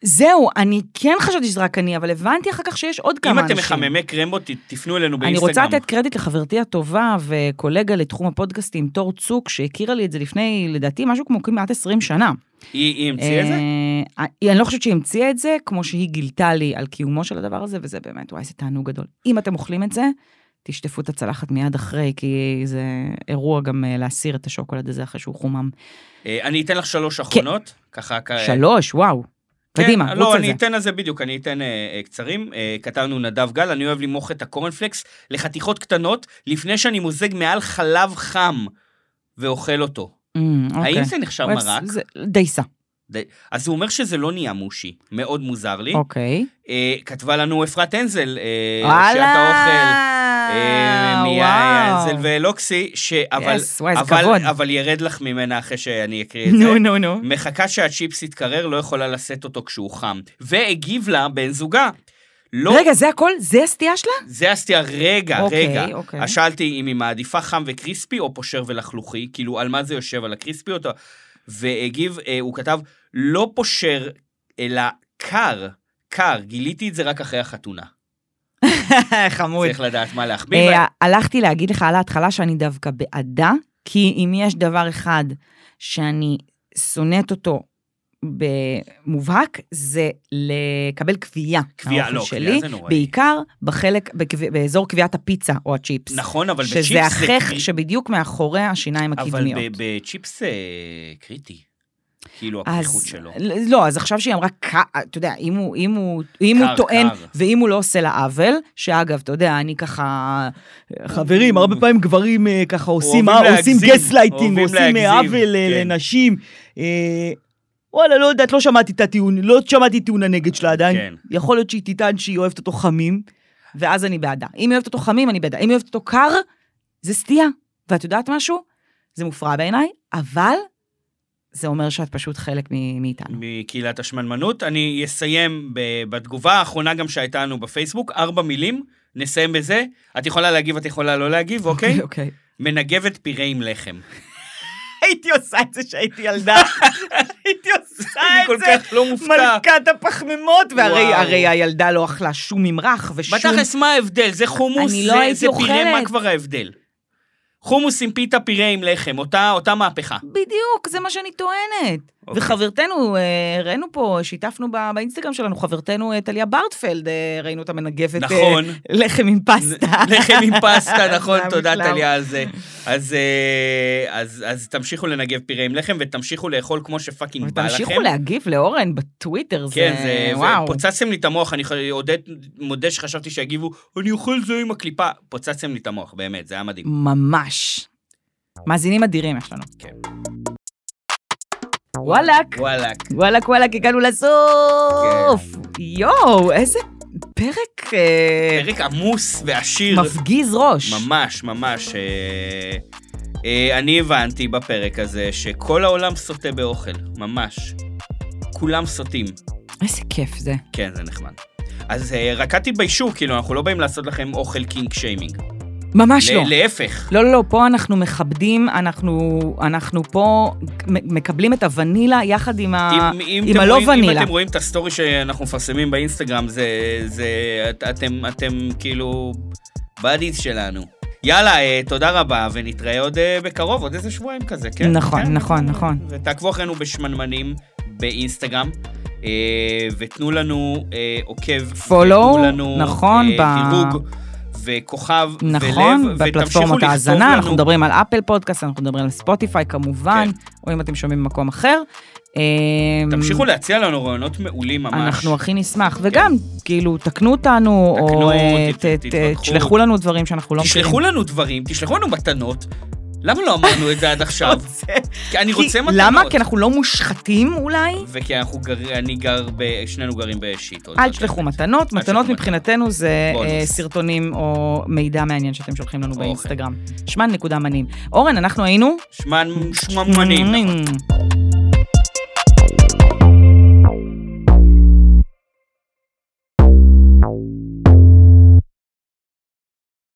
זהו, אני כן חשבתי שזה רק אני, אבל הבנתי אחר כך שיש עוד אם כמה אנשים. אתם מחממי קרמבו, ת- תפנו אלינו אני באינסטגרם. רוצה לתת קרדיט לחברתי הטובה וקולגה לתחום הפודקאסטים, תור צוק, שהכירה לי את זה לפני, לדעתי, משהו כמו כמעט 20 שנה. היא היא המציאה את זה? אה, היא- אני לא חושבת שהיא המציאה את זה, כמו שהיא גילתה לי על קיומו של הדבר הזה, וזה באמת, וואי, זה תענוג גדול. אם אתם אוכלים את זה, תשטפו את הצלחת מיד אחרי, כי זה אירוע גם אה, להסיר את השוקולד הזה אחרי שהוא חומם. אה, אני אתן לך שלוש אחרונות, ככה... כ- כן. שלוש, וואו. אה, כן, קדימה, רוץ לא, על אני זה. אתן על זה בדיוק, אני אתן אה, אה, קצרים. אה, כתבנו נדב גל, אני אוהב למרוח את הקורנפלקס לחתיכות קטנות, לפני שאני מוזג מעל חלב חם ואוכל אותו. אמ, אוקיי. האם זה נחשב אוהב- מרק? זה- דייסה. די- אז הוא אומר שזה לא נהיה מושי, מאוד מוזר לי. אוקיי. אה, כתבה לנו אפרת הנזל, אה, וואלה! שאתה אוכל. אה, מיה וואו. הנזל ואלוקסי, שאבל, יס, וואי, זה אבל- כבוד. אבל ירד לך ממנה אחרי שאני אקריא את זה. נו, נו, נו. מחכה שהצ'יפס יתקרר, לא יכולה לשאת אותו כשהוא חם. והגיב לה בן זוגה. לא, רגע, זה הכל? זה הסטייה שלה? זה הסטייה, רגע, אוקיי, רגע. אוקיי. אז שאלתי אם היא מעדיפה חם וקריספי או פושר ולחלוכי, כאילו, על מה זה יושב, על הקריספיות? או- והגיב, אה, הוא כתב, לא פושר, אלא קר, קר, גיליתי את זה רק אחרי החתונה. חמוד. צריך לדעת מה להחביא. אה, הלכתי להגיד לך על ההתחלה שאני דווקא בעדה, כי אם יש דבר אחד שאני שונאת אותו במובהק, זה לקבל כווייה. כווייה, האוכל לא, שלי, כווייה זה נוראי. בעיקר בחלק, בקו- באזור קביעת הפיצה או הצ'יפס. נכון, אבל בצ'יפס שזה החך קרי- שבדיוק מאחורי השיניים אבל הקדמיות. ב- בצ'יפס זה קריטי, כאילו אז, הפתיחות שלו. לא, אז עכשיו שהיא אמרה, "ק- אתה יודע, אם הוא, אם הוא, אם קר, הוא טוען, קר. ואם הוא לא עושה לה עוול, שאגב, אתה יודע, אני ככה, חברים, הרבה פעמים גברים אה, ככה עושים, אוהבים אה, עושים להגזים, גסלייטינג, אוהבים עושים אה, להגזים, עוול אה, כן. לנשים. אה, וואלה, לא יודעת, לא שמעתי את הטיעון, לא שמעתי טיעון הנגד שלה כן. עדיין. יכול להיות שהיא תטען שהיא אוהבת אותו חמים, ואז אני בעדה. אם היא אוהבת אותו חמים, אני בעדה. אם היא אוהבת אותו קר, זה סטייה. ואת יודעת משהו? זה מופרע בעיניי, אבל זה אומר שאת פשוט חלק מ- מאיתנו. מקהילת השמנמנות. אני אסיים ב- בתגובה האחרונה גם שהייתה לנו בפייסבוק, ארבע מילים, נסיים בזה. את יכולה להגיב, את יכולה לא להגיב, אוקיי? אוקיי. מנגבת פירה עם לחם. הייתי עושה את זה שהייתי ילדה. הייתי עושה אני כל אה, את זה. כך לא מופתע. מלכת הפחמימות, והרי וואו. הרי הילדה לא אכלה שום ממרח ושום... בתכלס, מה ההבדל? זה חומוס, אני לא זה- הייתי זה פירה, אוכלת. מה כבר ההבדל? חומוס עם פיתה, פירה עם לחם, אותה אותה מהפכה. בדיוק, זה מה שאני טוענת. אוקיי. וחברתנו, אה, ראינו פה, שיתפנו ב- באינסטגרם שלנו, חברתנו אה, טליה ברטפלד, אה, ראינו אותה מנגבת אה, נכון. לחם עם פסטה. לא. לחם עם פסטה, נכון, זה היה תודה מושלם. טליה על זה. אז, אה, אז, אז תמשיכו לנגב פירה עם לחם ותמשיכו לאכול כמו שפאקינג בא לכם. ותמשיכו להגיב לאורן בטוויטר, זה כן, זה, וואו. וואו. זה פוצצתם לי את המוח, אני ח- יודע, מודה שחשבתי שיגיבו, אני אוכל זה עם הקליפה. פוצצתם לי את המוח, באמת, זה היה מדהים. ממש. מאזינים אדירים יש לנו. אוקיי. כן. וואלק, וואלה, וואלק, וואלק, הגענו לסוף. יואו, איזה פרק אה, כן. פרק עמוס ועשיר. מפגיז ראש. ממש, ממש. אה, אה, אני הבנתי בפרק הזה שכל העולם סוטה באוכל, ממש. כולם סוטים. איזה כיף זה. כן, זה נחמד. אז אה, רק אל תתביישו, כאילו, אנחנו לא באים לעשות לכם אוכל קינג שיימינג. ממש לא. ל- להפך. לא, לא, לא, פה אנחנו מכבדים, אנחנו, אנחנו פה מ- מקבלים את הוונילה יחד עם, ה... אם- אם עם, אתם הלא רואים- ונילה. אם אתם רואים את הסטורי שאנחנו מפרסמים באינסטגרם, זה... זה את- אתם, אתם כאילו בדיז שלנו. יאללה, אה, תודה רבה, ונתראה עוד אה, בקרוב, עוד איזה שבועיים כזה, כן? נכון, כן, נכון, נכון. ותעקבו אחרינו בשמנמנים באינסטגרם, אה, ותנו לנו אה, עוקב, Follow, ותנו לנו נכון, ב- אה, דירוג, וכוכב, נכון, ולב, בפלטפורמות ותמשיכו לכתוב ההאזנה, לנו. אנחנו מדברים על אפל פודקאסט, אנחנו מדברים על ספוטיפיי כמובן, או אם אתם שומעים במקום אחר. אמ, כן. תמשיכו להציע לנו רעיונות מעולים ממש. כן. אנחנו הכי נשמח, וגם, כאילו, תקנו אותנו, תקנו, או אה, ת- ת- ת- תתווכחו. תשלחו לנו דברים שאנחנו לא מכירים. תשלחו לנו דברים, תשלחו לנו מתנות. למה לא אמרנו את זה עד עכשיו? כי אני כי- רוצה מתנות. למה? כי אנחנו לא מושחתים אולי? וכי אנחנו גר... אני גר ב... שנינו גרים אוקיי. בשיט. אל תשלחו מתנות, תשלחו מתנות מתנות. מבחינתנו זה בונוס. אה, סרטונים או מידע מעניין שאתם שולחים לנו אוקיי. באינסטגרם. שמן נקודה מנים. אורן, אנחנו היינו? שמן שממנים. נכון.